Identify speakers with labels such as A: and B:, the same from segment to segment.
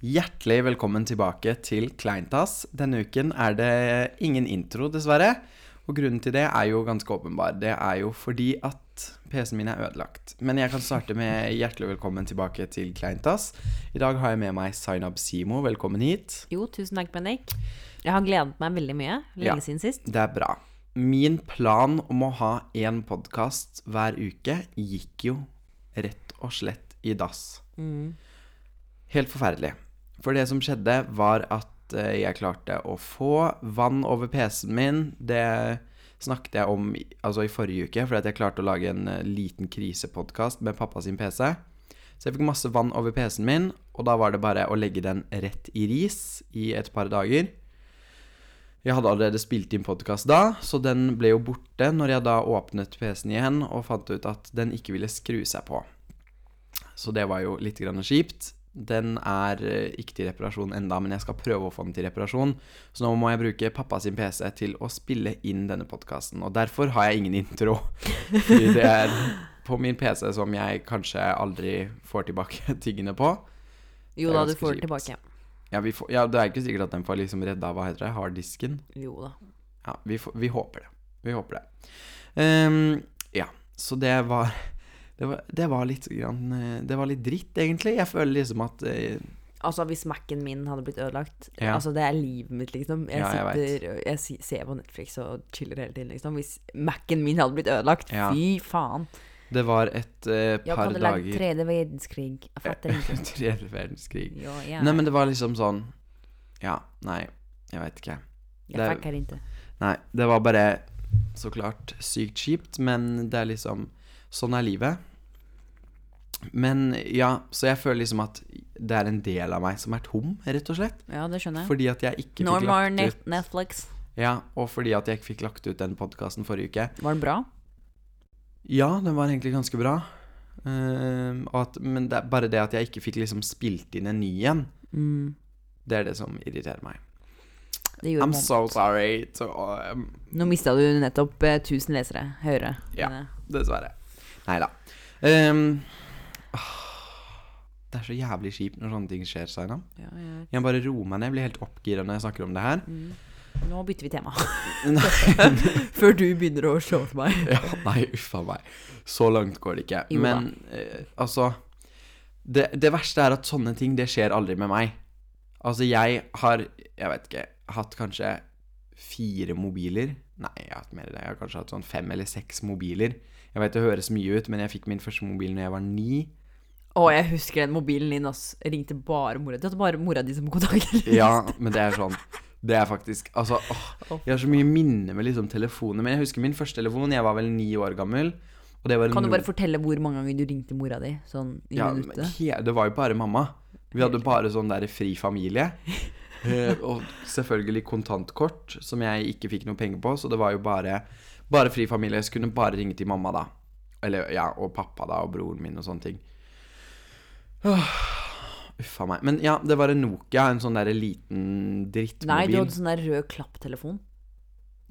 A: Hjertelig velkommen tilbake til Kleintass. Denne uken er det ingen intro, dessverre. Og grunnen til det er jo ganske åpenbar. Det er jo fordi at PC-en min er ødelagt. Men jeg kan starte med hjertelig velkommen tilbake til Kleintass. I dag har jeg med meg Zainab Simo. Velkommen hit.
B: Jo, tusen takk, Bendik. Jeg har gledet meg veldig mye lenge
A: Ja.
B: siden sist.
A: Det er bra. Min plan om å ha én podkast hver uke gikk jo rett og slett i dass. Helt forferdelig. For det som skjedde, var at eh, jeg klarte å få vann over PC-en min. Det snakket jeg om i- altså, i forrige uke, fordi at jeg klarte å lage en eh, liten krisepodkast med pappa sin PC. Så jeg fikk masse vann over PC-en min, og da var det bare å legge den rett i ris i et par dager. Jeg hadde allerede spilt inn podkast da, så den ble jo borte når jeg da åpnet PC-en igjen og fant ut at den ikke ville skru seg på. Så det var jo litt grann kjipt. Den er eh, ikke til reparasjon enda, men jeg skal prøve å få den til reparasjon. Så nå må jeg bruke pappa sin PC til å spille inn denne podkasten. Og derfor har jeg ingen intro. Fordi det er på min PC som jeg kanskje aldri får tilbake tingene på.
B: Jo
A: Det er
B: da, du
A: ganske
B: får
A: kjipt.
B: det tilbake.
A: Ja, vi får, ja, det er ikke sikkert at den får liksom redda hva heter det, harddisken.
B: Jo da.
A: Ja, vi, får, vi håper det. Vi håper det. Ehm, ja, så det var det var, det var litt grann, eh, Det var litt dritt, egentlig. Jeg føler liksom at eh,
B: Altså, hvis Mac-en min hadde blitt ødelagt
A: Ja.
B: Altså, det er livet mitt, liksom. Jeg,
A: Ja, jeg vet.
B: sitter, jeg, si- ser på Netflix og chiller hele tiden, liksom. Hvis Mac-en min hadde blitt ødelagt,
A: Ja.
B: fy faen.
A: det var et eh,
B: Jeg
A: par
B: hadde lagd
A: dager
B: tredje verdenskrig. Jeg fatter ikke.
A: Tredje verdenskrig.
B: Jo, ja.
A: Nei, men det var liksom sånn Ja, nei, jeg veit ikke. det
B: jeg
A: er-
B: fakker ikke.
A: Nei, det var bare så klart sykt kjipt, men det er liksom Sånn er livet. Men ja, så jeg føler liksom at det er en del av meg som er tom, rett og slett.
B: Ja, det skjønner jeg.
A: Fordi at jeg ikke
B: No
A: fikk
B: more
A: lagt
B: net
A: ut
B: Netflix.
A: Ja, og fordi at jeg ikke fikk lagt ut den podkasten forrige uke.
B: Var den bra?
A: Ja, den var egentlig ganske bra. Ehm, og at, men det er bare det at jeg ikke fikk liksom spilt inn en ny en,
B: Mm.
A: det er det som irriterer meg.
B: Det gjorde
A: I'm
B: vondt.
A: so sorry. To, um,
B: Nå mista du nettopp eh, 1000 lesere. Høyere.
A: Ja.
B: Men, eh,
A: dessverre. Nei da. Ehm, åh, det er så jævlig kjipt når sånne ting skjer, Sainam.
B: ja, ja.
A: Jeg må bare roe meg ned. Jeg blir helt oppgira når jeg snakker om det her.
B: Mm. Nå bytter vi tema.
A: Nei.
B: Før du begynner å slå til meg.
A: Ja, nei, uffa meg. Så langt går det ikke.
B: Jo da.
A: Men eh, altså det, det verste er at sånne ting, det skjer aldri med meg. Altså, jeg har, jeg vet ikke, hatt kanskje fire mobiler. Nei, jeg har hatt mer enn det. Jeg har kanskje hatt sånn fem eller seks mobiler. Jeg vet det høres mye ut, men jeg fikk min første mobil når jeg var ni.
B: Å, jeg husker den mobilen din, ass. Ringte bare mora di. Du hadde bare mora di som kontaktliste.
A: Ja, men det er sånn Det er faktisk Altså, åh, jeg har så mye minner med liksom telefoner. Men jeg husker min første telefon. Jeg var vel ni år gammel. Og det var en
B: Kan du
A: Nokia-
B: bare fortelle hvor mange ganger du ringte mora di? Sånn i
A: Ja, men
B: minuttet?
A: he, det var jo bare mamma. Vi hadde bare sånn der fri familie. Eh, og selvfølgelig kontantkort, som jeg ikke fikk noe penger på. Så det var jo bare, bare fri familie. Så kunne bare ringe til mamma, da. Eller ja, og pappa, da, og broren min og sånne ting. Åh, Uffa meg. Men ja, det var en Nokia, en sånn derre liten drittmobil.
B: Nei, du hadde sånn der rød klapptelefon.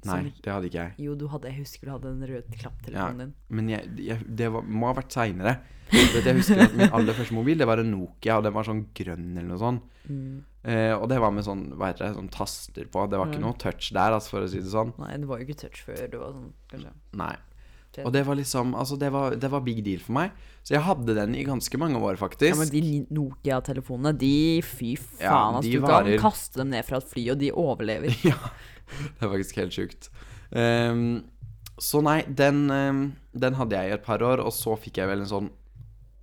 A: Nei,
B: Sånn-
A: det hadde ikke jeg.
B: Jo, du hadde, jeg husker du hadde den røde klapptelefonen din.
A: Men jeg, jeg, det var, må ha vært seinere. Jeg husker at min aller første mobil, det var en Nokia, og den var sånn grønn eller noe sånt.
B: Mm.
A: Eh, og det var med sånn, hva heter det, sånn taster på. Det var ikke
B: Mm.
A: noe touch der, altså, for å si det sånn.
B: Nei, det var jo ikke touch før. Det var sånn, kanskje.
A: Nei.
B: Touch.
A: Og det var liksom Altså, det var, det var big deal for meg. Så jeg hadde den i ganske mange år, faktisk.
B: Ja, men de Nokia-telefonene, de fy faen,
A: Ja,
B: ass.
A: de
B: Du
A: varer.
B: kan kaste dem ned fra et fly, og de overlever.
A: Ja, det er faktisk helt sjukt. Ehm, så nei, den, ehm, den hadde jeg i et par år, og så fikk jeg vel en sånn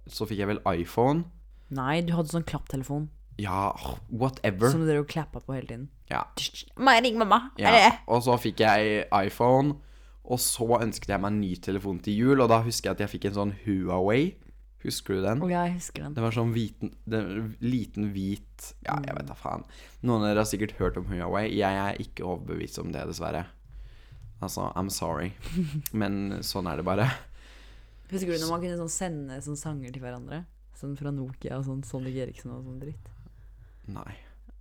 A: Så fikk jeg vel iPhone.
B: Nei, du hadde sånn klapptelefon
A: Ja, whatever.
B: som du drev og klappa på hele tiden.
A: Ja.
B: Må jeg ringe mamma?
A: Ja, og så fikk jeg iPhone, og så ønsket jeg meg en ny telefon til jul, og da husker jeg at jeg fikk en sånn Huawei. Husker du den?
B: Å, ja, jeg husker den.
A: Det var sånn hviten, den, liten hvit Ja, jeg
B: Mm.
A: vet da faen. Noen av dere har sikkert hørt om Huawei. Jeg er ikke overbevist om det, dessverre. Altså, I'm sorry. Men sånn er det bare.
B: Husker du når man kunne sånn sende sånn sanger til hverandre? Sånn fra Nokia og sånn Sonny Eriksen og sånn dritt.
A: Nei.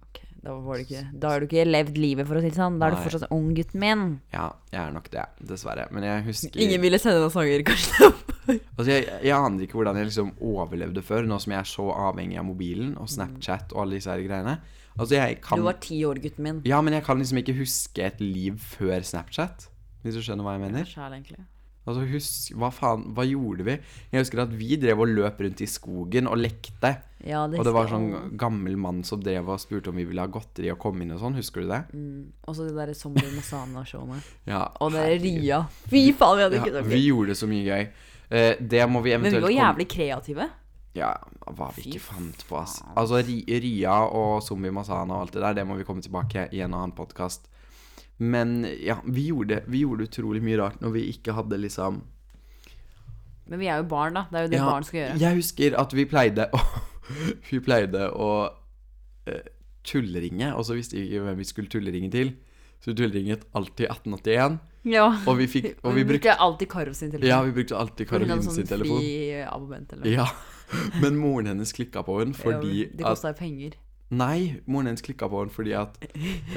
B: Ok, Da var det ikke Da har du ikke levd livet, for å si det sånn. Da er du
A: Nei.
B: fortsatt ung, gutten min.
A: Ja, jeg er nok det, dessverre. Men jeg husker
B: Ingen ville sende noen sanger, kanskje.
A: Altså, jeg, jeg aner ikke hvordan jeg liksom overlevde før, nå som jeg er så avhengig av mobilen og Snapchat og alle disse her greiene. Altså, jeg kan
B: Du var ti år, gutten min.
A: Ja, men jeg kan liksom ikke huske et liv før Snapchat. Hvis du skjønner hva jeg mener?
B: Sjæl, egentlig.
A: Altså, husk, hva faen, hva gjorde vi? Jeg husker at vi drev og løp rundt i skogen og lekte.
B: Ja,
A: Og det var
B: husker jeg
A: sånn gammel mann som drev og spurte om vi ville ha godteri og komme inn og sånn, husker du det?
B: også. Og så de der Zombie Masana-showene.
A: Ja,
B: Mm. Og det
A: herregud.
B: Ria. Fy faen, vi hadde ikke
A: Ja,
B: sagt
A: vi
B: det.
A: gjorde så mye gøy. Eh, det må vi
B: Men vi
A: eventuelt
B: var
A: komme-
B: jævlig kreative.
A: Ja, hva vi ikke
B: Fy
A: fant på, ass. Altså, Ri- Ria og Zombie Masana og alt det der, det må vi komme tilbake i en annen podkast. Men ja, vi gjorde, vi gjorde utrolig mye rart når vi ikke hadde liksom
B: Men vi er jo barn, da. Det er jo det
A: Ja,
B: barn skal gjøre.
A: Jeg husker at vi pleide å Vi pleide å eh, tullringe, og så visste vi ikke hvem vi skulle tullringe til. Så vi tullringet alltid 1881,
B: Ja.
A: og vi fikk Og vi
B: Men
A: brukte
B: brukte alltid Karo sin telefon.
A: Ja, vi brukte alltid
B: For hun hadde
A: Karoline sin
B: Sånn
A: telefon.
B: fri abonnement eller noe.
A: Ja. Men moren hennes klikka på henne fordi
B: Ja, Det
A: at
B: kosta jo penger.
A: Nei, moren hennes klikka på henne fordi at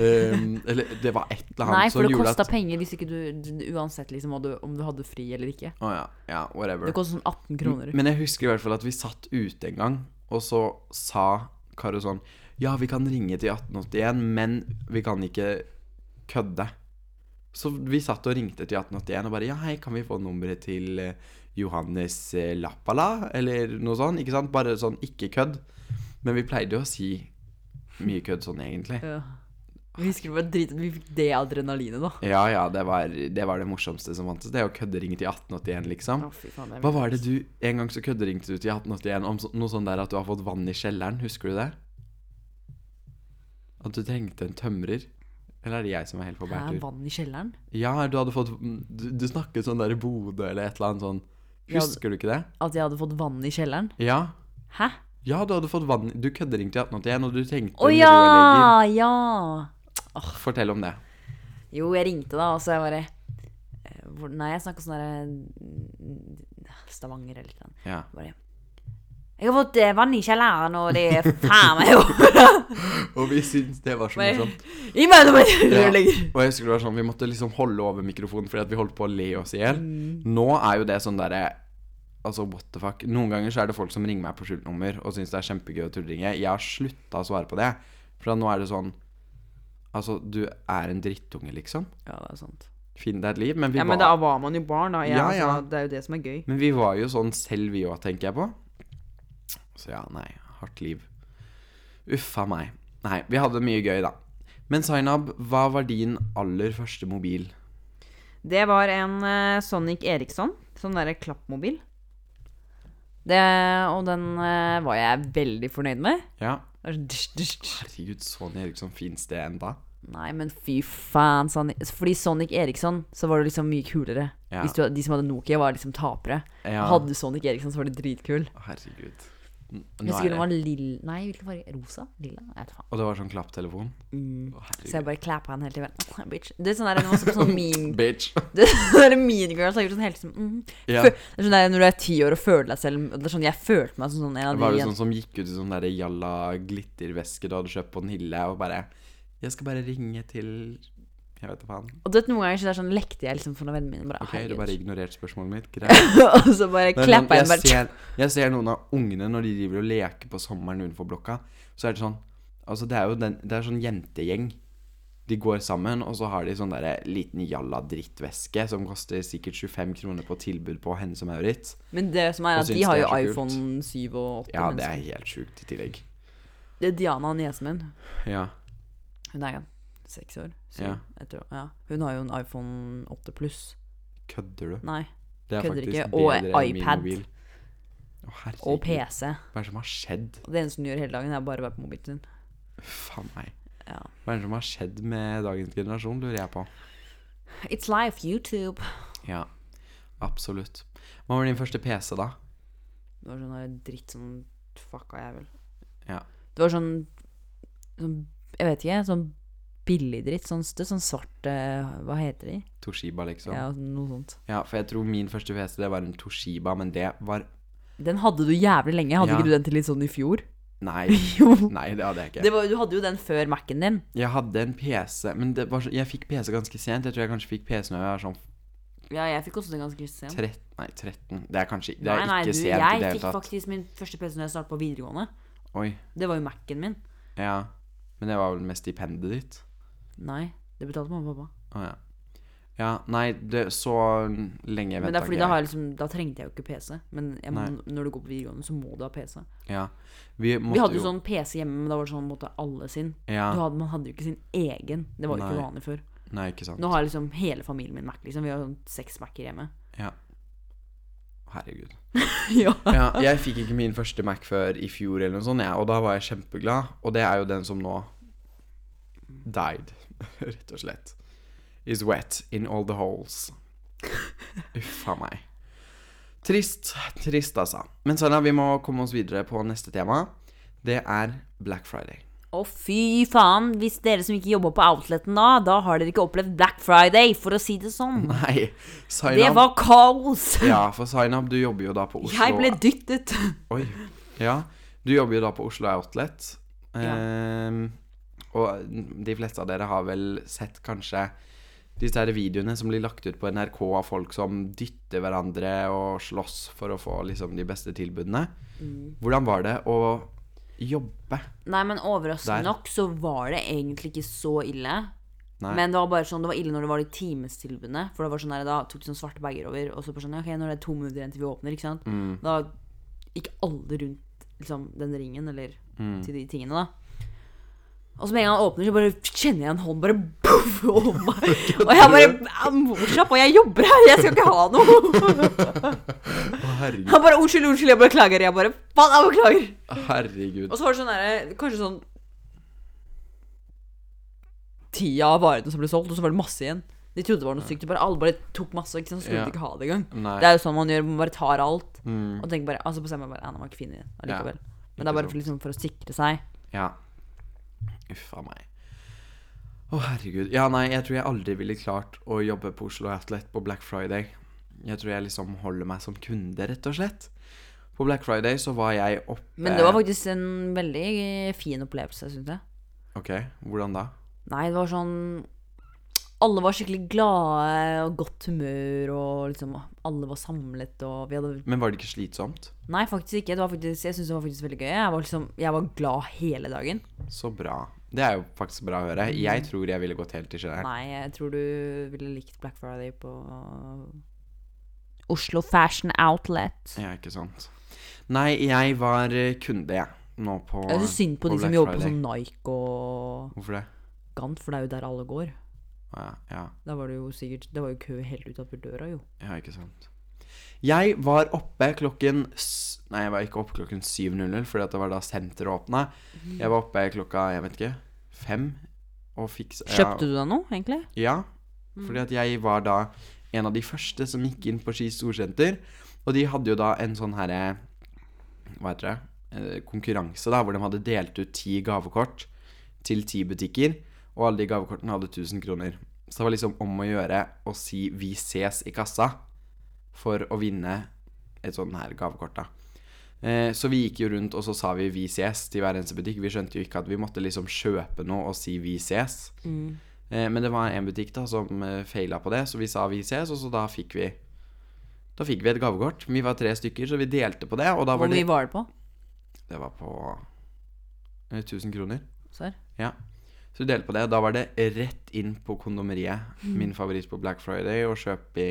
A: ehm, Eller det var et eller annet
B: Nei, for
A: som
B: det
A: gjorde
B: kosta
A: at
B: penger hvis ikke du, du Uansett liksom, hva du, om du hadde fri eller ikke.
A: Å ja, ja, whatever.
B: Det kosta sånn 18 kroner.
A: Men jeg husker i hvert fall at vi satt ute en gang, og så sa Karo sånn Ja, vi kan ringe til 1881, men vi kan ikke kødde. Så vi satt og ringte til 1881 og bare Ja, hei, kan vi få nummeret til eh, Johannes eh, Lappala? Eller noe sånt. Ikke sant? Bare sånn ikke kødd. Men vi pleide jo å si mye kødd sånn, egentlig.
B: Ja. Vi husker det var drit at vi fikk det adrenalinet, da.
A: Ja ja, det var det, var det morsomste som fantes. Det å kødderinge til 1881, liksom.
B: Å, fy faen, det er
A: Hva var det du En gang så kødderingte du til 1881 om så, noe sånn der at du har fått vann i kjelleren. Husker du det? At du trengte en tømrer. Eller er det jeg som er helt på
B: Hæ,
A: bærtur?
B: vann i kjelleren?
A: Ja, du hadde fått Du, du snakket sånn der i Bodø eller et eller annet sånn.
B: Ja,
A: Husker du ikke det?
B: At jeg hadde fått vann i kjelleren?
A: Ja.
B: Hæ?
A: Ja, du hadde fått vann Du kødderingte til 1881, og du trengte
B: Å
A: en
B: ja! Ja!
A: rørlegger. Fortell om det.
B: Jo, jeg ringte, da, og så jeg bare eh, hvor- Nei, jeg snakka sånn derre Stavanger eller noe.
A: Ja.
B: Bare Jeg har fått eh, vann i kjelleren, og det er faen meg jo
A: Og vi syntes det var så
B: Bare-
A: morsomt.
B: Gi meg noe mer
A: Ja.
B: rørlegger!
A: Og jeg husker det var sånn Vi måtte liksom holde over mikrofonen fordi at vi holdt på å le oss i hjel.
C: Mm.
A: Nå er jo det sånn derre Altså, what the fuck. Noen ganger så er det folk som ringer meg på skjult nummer og syns det er kjempegøy å tullringe. Jeg har slutta å svare på det. For nå er det sånn Altså, du er en drittunge, liksom.
B: Ja, det er sant.
A: Finn deg et liv. Men vi,
C: Ja, men da
A: var,
C: var man jo barn, da. Jeg,
A: Ja,
C: altså,
A: ja.
C: det er jo det som er gøy.
A: men vi var jo sånn selv, vi òg, tenker jeg på. Så ja, nei. Hardt liv. Uffa meg. Nei, vi hadde mye gøy, da. Men Zainab, hva var din aller første mobil?
C: Det var en eh, Sonic Eriksson. Sånn derre klappmobil.
B: Det, og den eh, var jeg veldig fornøyd med.
A: Ja,
B: Det var sånn dysj, dysj, dysj.
A: Herregud, Sony Eriksson, fins det enda?
B: Nei, men fy faen. Sonic. Fordi Sonic Eriksson, så var det liksom mye kulere.
A: Ja.
B: Hvis du, de som hadde Nokia, var liksom tapere.
A: Ja.
B: Hadde du Sonic Eriksson, så var det dritkul.
A: Herregud. N-
B: Jeg
A: Nå
B: husker
A: er
B: den
A: det.
B: var lill... Nei, hvilken farge? Rosa? Lilla? Jeg vet faen.
A: Og det var sånn klapptelefon. Å,
B: Så jeg
A: herregud.
B: bare klappa han hele tiden. Bitch. Det er sånn der, det var sånn mean,
A: Bitch.
B: det er sånn der mean girls har gjort sånn hele tiden. Mm.
A: Ja.
B: Fø- Det er sånn der, når du er ti år og føler deg selv Det er sånn Jeg følte meg som sånn en av
A: Var
B: de
A: det sånn som gikk ut i sånn der jalla glitterveske du hadde kjøpt på en hylle, og bare Jeg skal bare ringe til Jeg vet da faen.
B: Og du vet, noen ganger så det er sånn, lekte jeg liksom for noen vennene mine. Bare,
A: OK, du
B: herregud.
A: bare ignorerte spørsmålet mitt. Greit.
B: og så
A: Det
B: bare
A: er sånn,
B: klappa jeg
A: jeg,
B: bare
A: ser, jeg ser noen av ungene når de driver og leker på sommeren utenfor blokka, så er det sånn Altså, det er jo den, det er sånn jentegjeng. De går sammen, og så har de sånn derre liten jalla drittveske som koster sikkert 25 kroner på tilbud på henne som Maurits.
B: Men det som er
A: Og
B: at de
A: synes
B: har
A: det
B: jo
A: er så kult.
B: iPhone 7 og 8.
A: Ja,
B: men
A: det er
B: så-
A: helt sjukt i tillegg.
B: det er Diana, niesen min.
A: Ja.
B: Hun er jo seks år. Syv,
A: Ja.
B: jeg tror. Ja. Hun har jo en iPhone 8 pluss.
A: Kødder du?
B: Nei.
A: Det er
B: kødder
A: faktisk
B: ikke. Og
A: bedre enn min
B: iPad.
A: mobil. Å,
B: Og
A: herregud.
B: PC.
A: Hva er det som har skjedd?
B: Og det eneste hun gjør hele dagen, er bare å være på mobilen sin.
A: Faen meg.
B: Ja.
A: Hva er det som har skjedd med dagens generasjon, lurer jeg på.
B: It's life, YouTube.
A: Ja, absolutt. Hva var din første PC, da?
B: Det var sånn der dritt sånn
C: Fucka jeg vel.
A: Ja.
B: Det var sånn, sånn Jeg vet ikke. Sånn billig dritt. Sånn, det er sånn svart eh, Hva heter de?
A: Toshiba, liksom. Ja.
B: Ja, noe sånt.
A: for jeg tror min første PC det var en Toshiba, men det var
B: Den hadde du jævlig lenge. Hadde
A: Ja.
B: ikke du den til litt sånn i fjor?
A: Nei,
B: Jo.
A: nei det hadde jeg ikke.
B: Det var, du hadde jo den før Mac-en din.
A: Jeg hadde en PC, men det var så... jeg fikk PC ganske sent. Jeg tror jeg kanskje fikk PC når jeg var sånn
C: Ja, jeg fikk også det ganske sent.
A: Trett, nei, 13 Det er kanskje Det er
C: Nei, nei,
A: ikke
C: du,
A: sent i det
C: jeg
A: hele
C: fikk
A: tatt.
C: faktisk min første PC når jeg startet på videregående.
A: Oi.
C: Det var jo Mac-en min.
A: Ja. Men det var vel med stipendet ditt?
C: Nei, det betalte mamma og pappa.
A: Å ja. Ja, nei, det, så lenge jeg
C: Men det
A: venta
C: er fordi da, har jeg liksom, da trengte jeg jo ikke PC. Men jeg må,
A: Nei.
C: når du går på videregående, så må du ha PC.
A: Ja. Vi,
C: Vi hadde
A: jo
C: jo sånn PC hjemme, men da var det sånn på en måte alle sin.
A: Ja.
C: Du hadde, man hadde jo ikke sin egen. Det var jo
A: Nei.
C: ikke vanlig før.
A: Nei, ikke sant.
C: Nå har liksom hele familien min Mac. liksom Vi har sånn seks Mac-er hjemme.
A: Ja. Herregud.
C: ja.
A: Ja, jeg fikk ikke min første Mac før i fjor, eller noe sånt, jeg, og da var jeg kjempeglad. Og det er jo den som nå died, rett og slett. Is wet in all the holes. Uffa meg. Trist. Trist, altså. Men Sara, vi må komme oss videre på neste tema. Det er Black Friday.
C: Å, fy faen! Hvis dere som ikke jobba på Outleten da, da har dere ikke opplevd Black Friday, for å si det sånn.
A: Nei, sign
C: Det
A: up.
C: var kaos!
A: Ja, for sign up, du jobber jo da på Oslo
C: Jeg ble dyttet.
A: Oi. Ja. Du jobber jo da på Oslo Outlet.
C: Ja.
A: Ehm, og de fleste av dere har vel sett kanskje disse her videoene som blir lagt ut på NRK av folk som dytter hverandre og slåss for å få liksom de beste tilbudene.
B: Mm.
A: Hvordan var det å jobbe?
C: Nei, men overraskende
A: Der.
C: nok så var det egentlig ikke så ille.
A: Nei.
C: Men det var bare sånn, det var ille når det var de timestilbudene. For det var sånn der, da tok de sånn svarte bager over, og så bare sånn ja, Ok, nå er det to minutter igjen til vi åpner, ikke sant?
B: Mm.
C: Da gikk alle rundt liksom, den ringen, eller
A: Mm.
C: til de tingene, da. Og så med en gang han åpner, så bare kjenner jeg en hånd bare boff over meg. Og jeg bare «Au, Slapp av, jeg jobber her, jeg skal ikke ha noe.
A: Å, herregud.
C: Han bare unnskyld, unnskyld, jeg beklager. Jeg bare faen, jeg beklager.
A: herregud.
B: Og så var det sånn derre Kanskje sånn Ti av varene som ble solgt, og så var det masse igjen. De trodde det var noe sykt. Bare, alle bare tok masse. Ikke sant? Så skulle
A: Ja.
B: de ikke ha det engang. Det
A: Nei.
B: er jo sånn man gjør. Man bare tar alt.
A: Mm,
B: Og tenker bare Altså bestemmer man bare Ja, den var ikke fin i den allikevel. Men det
A: ikke
B: er bare
A: sant.
B: for, liksom, for å sikre seg.
A: ja. Uff a meg. Å, herregud. Ja, nei, jeg tror jeg aldri ville klart å jobbe på Oslo Outlet på Black Friday. Jeg tror jeg liksom holder meg som kunde, rett og slett. På Black Friday så var jeg oppe
B: Men det var faktisk en veldig fin opplevelse, syns jeg.
A: Ok, hvordan da?
B: Nei, det var sånn Alle var skikkelig glade og godt humør, og liksom alle var samlet, og vi hadde
A: Men var det ikke slitsomt?
B: Nei, faktisk ikke. Det var faktisk, jeg syns det var faktisk veldig gøy. Jeg var, liksom, jeg var glad hele dagen.
A: Så bra. Det er jo faktisk bra å høre. Jeg tror jeg ville gått helt i sjøen.
B: Mm. Nei, jeg tror du ville likt Black Friday på
C: Oslo Fashion Outlet.
A: Ja, ikke sant. Nei, jeg var eh, kunde, jeg. Nå på
B: Jeg syns synd på
A: på
B: de som
A: Black
B: jobber på
A: Friday.
B: sånn Nike og
A: Hvorfor det?
B: Gant, for det er jo der alle går.
A: Å Ja, ja.
B: Da var det jo sikkert Det var jo kø helt utenfor døra, jo.
A: Ja, ikke sant. Jeg var oppe klokken s Nei, jeg var ikke oppe klokken 7.00, fordi at det var da senteret åpna.
C: Mhm.
A: Jeg var oppe klokka, jeg vet ikke, fem og fikk
C: Kjøpte du Mhm. deg noe, egentlig?
A: Ja, ja
B: Mm.
A: fordi at jeg var da en av de første som gikk inn på Ski Storsenter. Og de hadde jo da en sånn herre Hva heter det? Eh, Konkurranse, da, hvor de hadde delt ut ti gavekort til ti butikker. Og alle de gavekortene hadde 1000 kroner. Så det var liksom om å gjøre å si 'vi ses i kassa' for å vinne et sånn her gavekort, da. Eh, Så vi gikk jo rundt, og så sa vi 'vi ses' til hver eneste butikk. Vi skjønte jo ikke at vi måtte liksom kjøpe noe og si 'vi ses'. Eh, Men det var en butikk da som eh, feila på det, så vi sa 'vi ses', og så da fikk vi Da fikk vi et gavekort. Vi var tre stykker, så vi delte på det, og da var
B: Hvor
A: det
B: mye var det på?
A: Det var på eh, 1000 kroner.
B: Serr?
A: Ja. Så du delte på det. Da var det rett inn på kondomeriet. Min favoritt på Black Friday. Og kjøpe,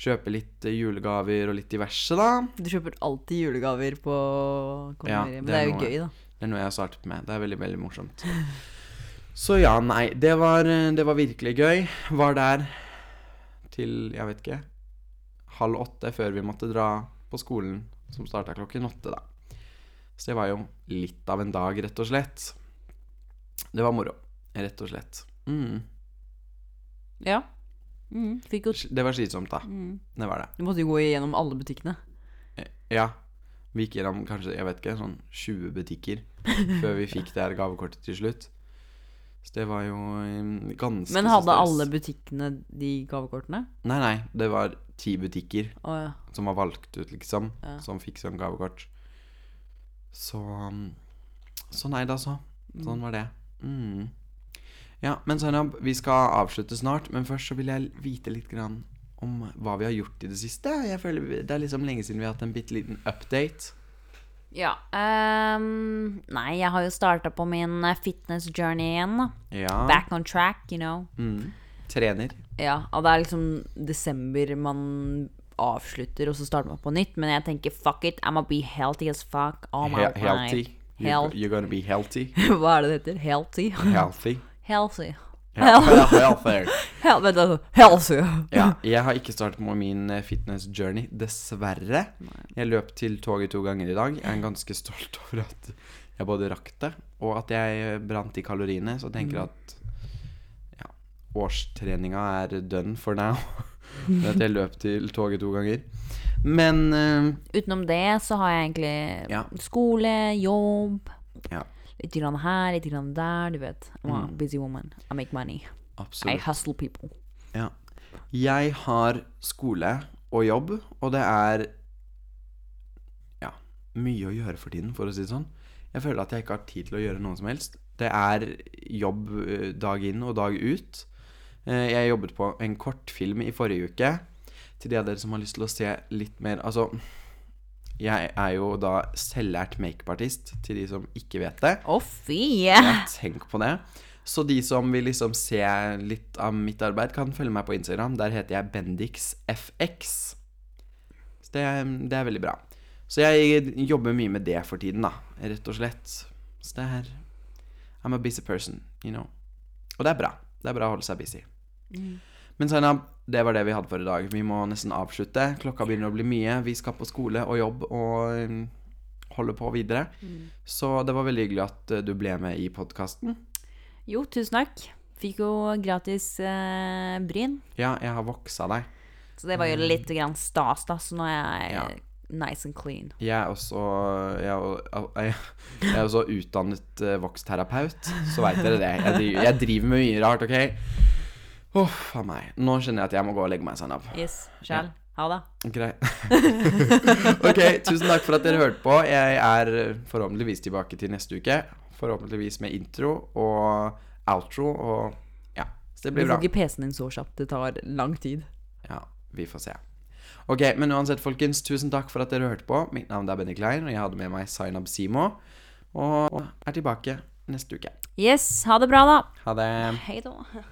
A: kjøpe litt eh, julegaver og litt diverse, da.
B: Du kjøper alltid julegaver på
A: Ja,
B: kondomeriet. men
A: det
B: det
A: er
B: er jo
A: noe.
B: gøy, da.
A: Det er noe jeg har startet med. Det er veldig, veldig morsomt. Så ja, nei. Det var, eh, det var virkelig gøy. Var der til, jeg vet ikke, halv åtte før vi måtte dra på skolen, som starta klokken åtte, da. Så det var jo litt av en dag, rett og slett. Det var moro, rett og slett. Mm.
B: Ja. Mm, fikk jo
A: Det var slitsomt, da.
B: mm.
A: Det var det.
B: Du måtte jo gå igjennom alle butikkene.
A: Ja. Vi gikk gjennom kanskje jeg vet ikke, sånn 20 butikker før vi fikk det her gavekortet til slutt. Så det var jo eh, ganske
B: Men
A: så
B: hadde
A: stress.
B: alle butikkene de gavekortene?
A: Nei, nei. Det var ti butikker
B: Å ja.
A: som var valgt ut, liksom,
B: Ja.
A: som fikk sånn gavekort. Så mm, Så nei da, så. Sånn var det. Mm. Ja, men Zainab, vi skal avslutte snart, men først så vil jeg vite litt grann om hva vi har gjort i det siste. Jeg føler vi- Det er liksom lenge siden vi har hatt en bitte liten update.
B: Ja. ehm, nei, jeg har jo starta på min eh, fitness journey igjen. da.
A: Ja.
B: Back on track, you know.
A: Mm. Trener.
B: Ja, og det er liksom desember man avslutter, og så starter man på nytt. Men jeg tenker fuck it, I'm gonna be healthy as fuck all Oh my
A: He
B: life.
A: healthy. You're,
B: Health.
A: you're gonna be healthy.
B: Hva er det det heter? Healthy?
A: Healthy.
B: Healthy.
A: Health- Healthy.
B: Hel vent, altså. Healthy.
A: Ja, jeg har ikke startet på min eh, fitness journey, dessverre. Jeg løp til toget to ganger i dag. Jeg er ganske stolt over at jeg både rakk det, og at jeg eh, brant de kaloriene. Så jeg tenker at ja, årstreninga er done for now. Men at jeg løp til toget to ganger. Men eh,
B: Utenom det så har jeg egentlig
A: Ja.
B: skole, jobb.
A: Ja. Mm.
B: Litt grann her, litt grann der, du vet. I'm a busy woman. I make money. I
A: absolutt.
B: hustle people.
A: Ja. Jeg har skole og jobb, og det er ja, mye å gjøre for tiden, for å si det sånn. Jeg føler at jeg ikke har tid til å gjøre noe som helst. Det er jobb eh, dag inn og dag ut. Eh, Jeg jobbet på en kortfilm i forrige uke. Til de av dere som har lyst til å se litt mer Altså, jeg er jo da selvlært makeupartist, til de som ikke vet det.
B: Å, fy! Yeah.
A: Ja, tenk på det. Så de som vil liksom se litt av mitt arbeid, kan følge meg på Instagram. Der heter jeg BendixFX. Så det, er- det er veldig bra. Så jeg jobber mye med det for tiden, da. Rett og slett. Så det er I'm a busy person, you know. Og det er bra. Det er bra å holde seg busy. Men Zainab, det var det vi hadde for i dag. Vi må nesten avslutte. Klokka begynner å bli mye. Vi skal på skole og jobb og mm, holde på videre. Så det var veldig hyggelig at eh, du ble med i podkasten.
B: Jo, tusen takk. Fikk jo gratis eh, bryn,
A: Ja, jeg har voksa deg.
B: så det var jo litt grann stas, da. Så nå er jeg
A: Mm. Ja.
B: nice and clean.
A: Jeg er også, jeg er, al- jeg jeg er også utdannet eh, voksterapeut, så veit dere det. Jeg driver, jeg driver med mye rart, OK? Huff a meg. Nå skjønner jeg at jeg må gå og legge meg, Zainab.
B: Yes, sjæl. Ha det.
A: Greit. OK, tusen takk for at dere hørte på. Jeg er eh, forhåpentligvis tilbake til neste uke. Forhåpentligvis med intro og outro og Ja, så det
B: Du
A: blir bra.
B: får ikke PC-en din så kjapt. Det tar lang tid.
A: Ja, vi får se. Ok, men uansett, folkens, tusen takk for at dere hørte på. Mitt navn er Benny Klein, og jeg hadde med meg Zainab Simo. Og er tilbake neste uke.
B: Yes, ha det bra, da.
A: Ha det.
B: Hei da.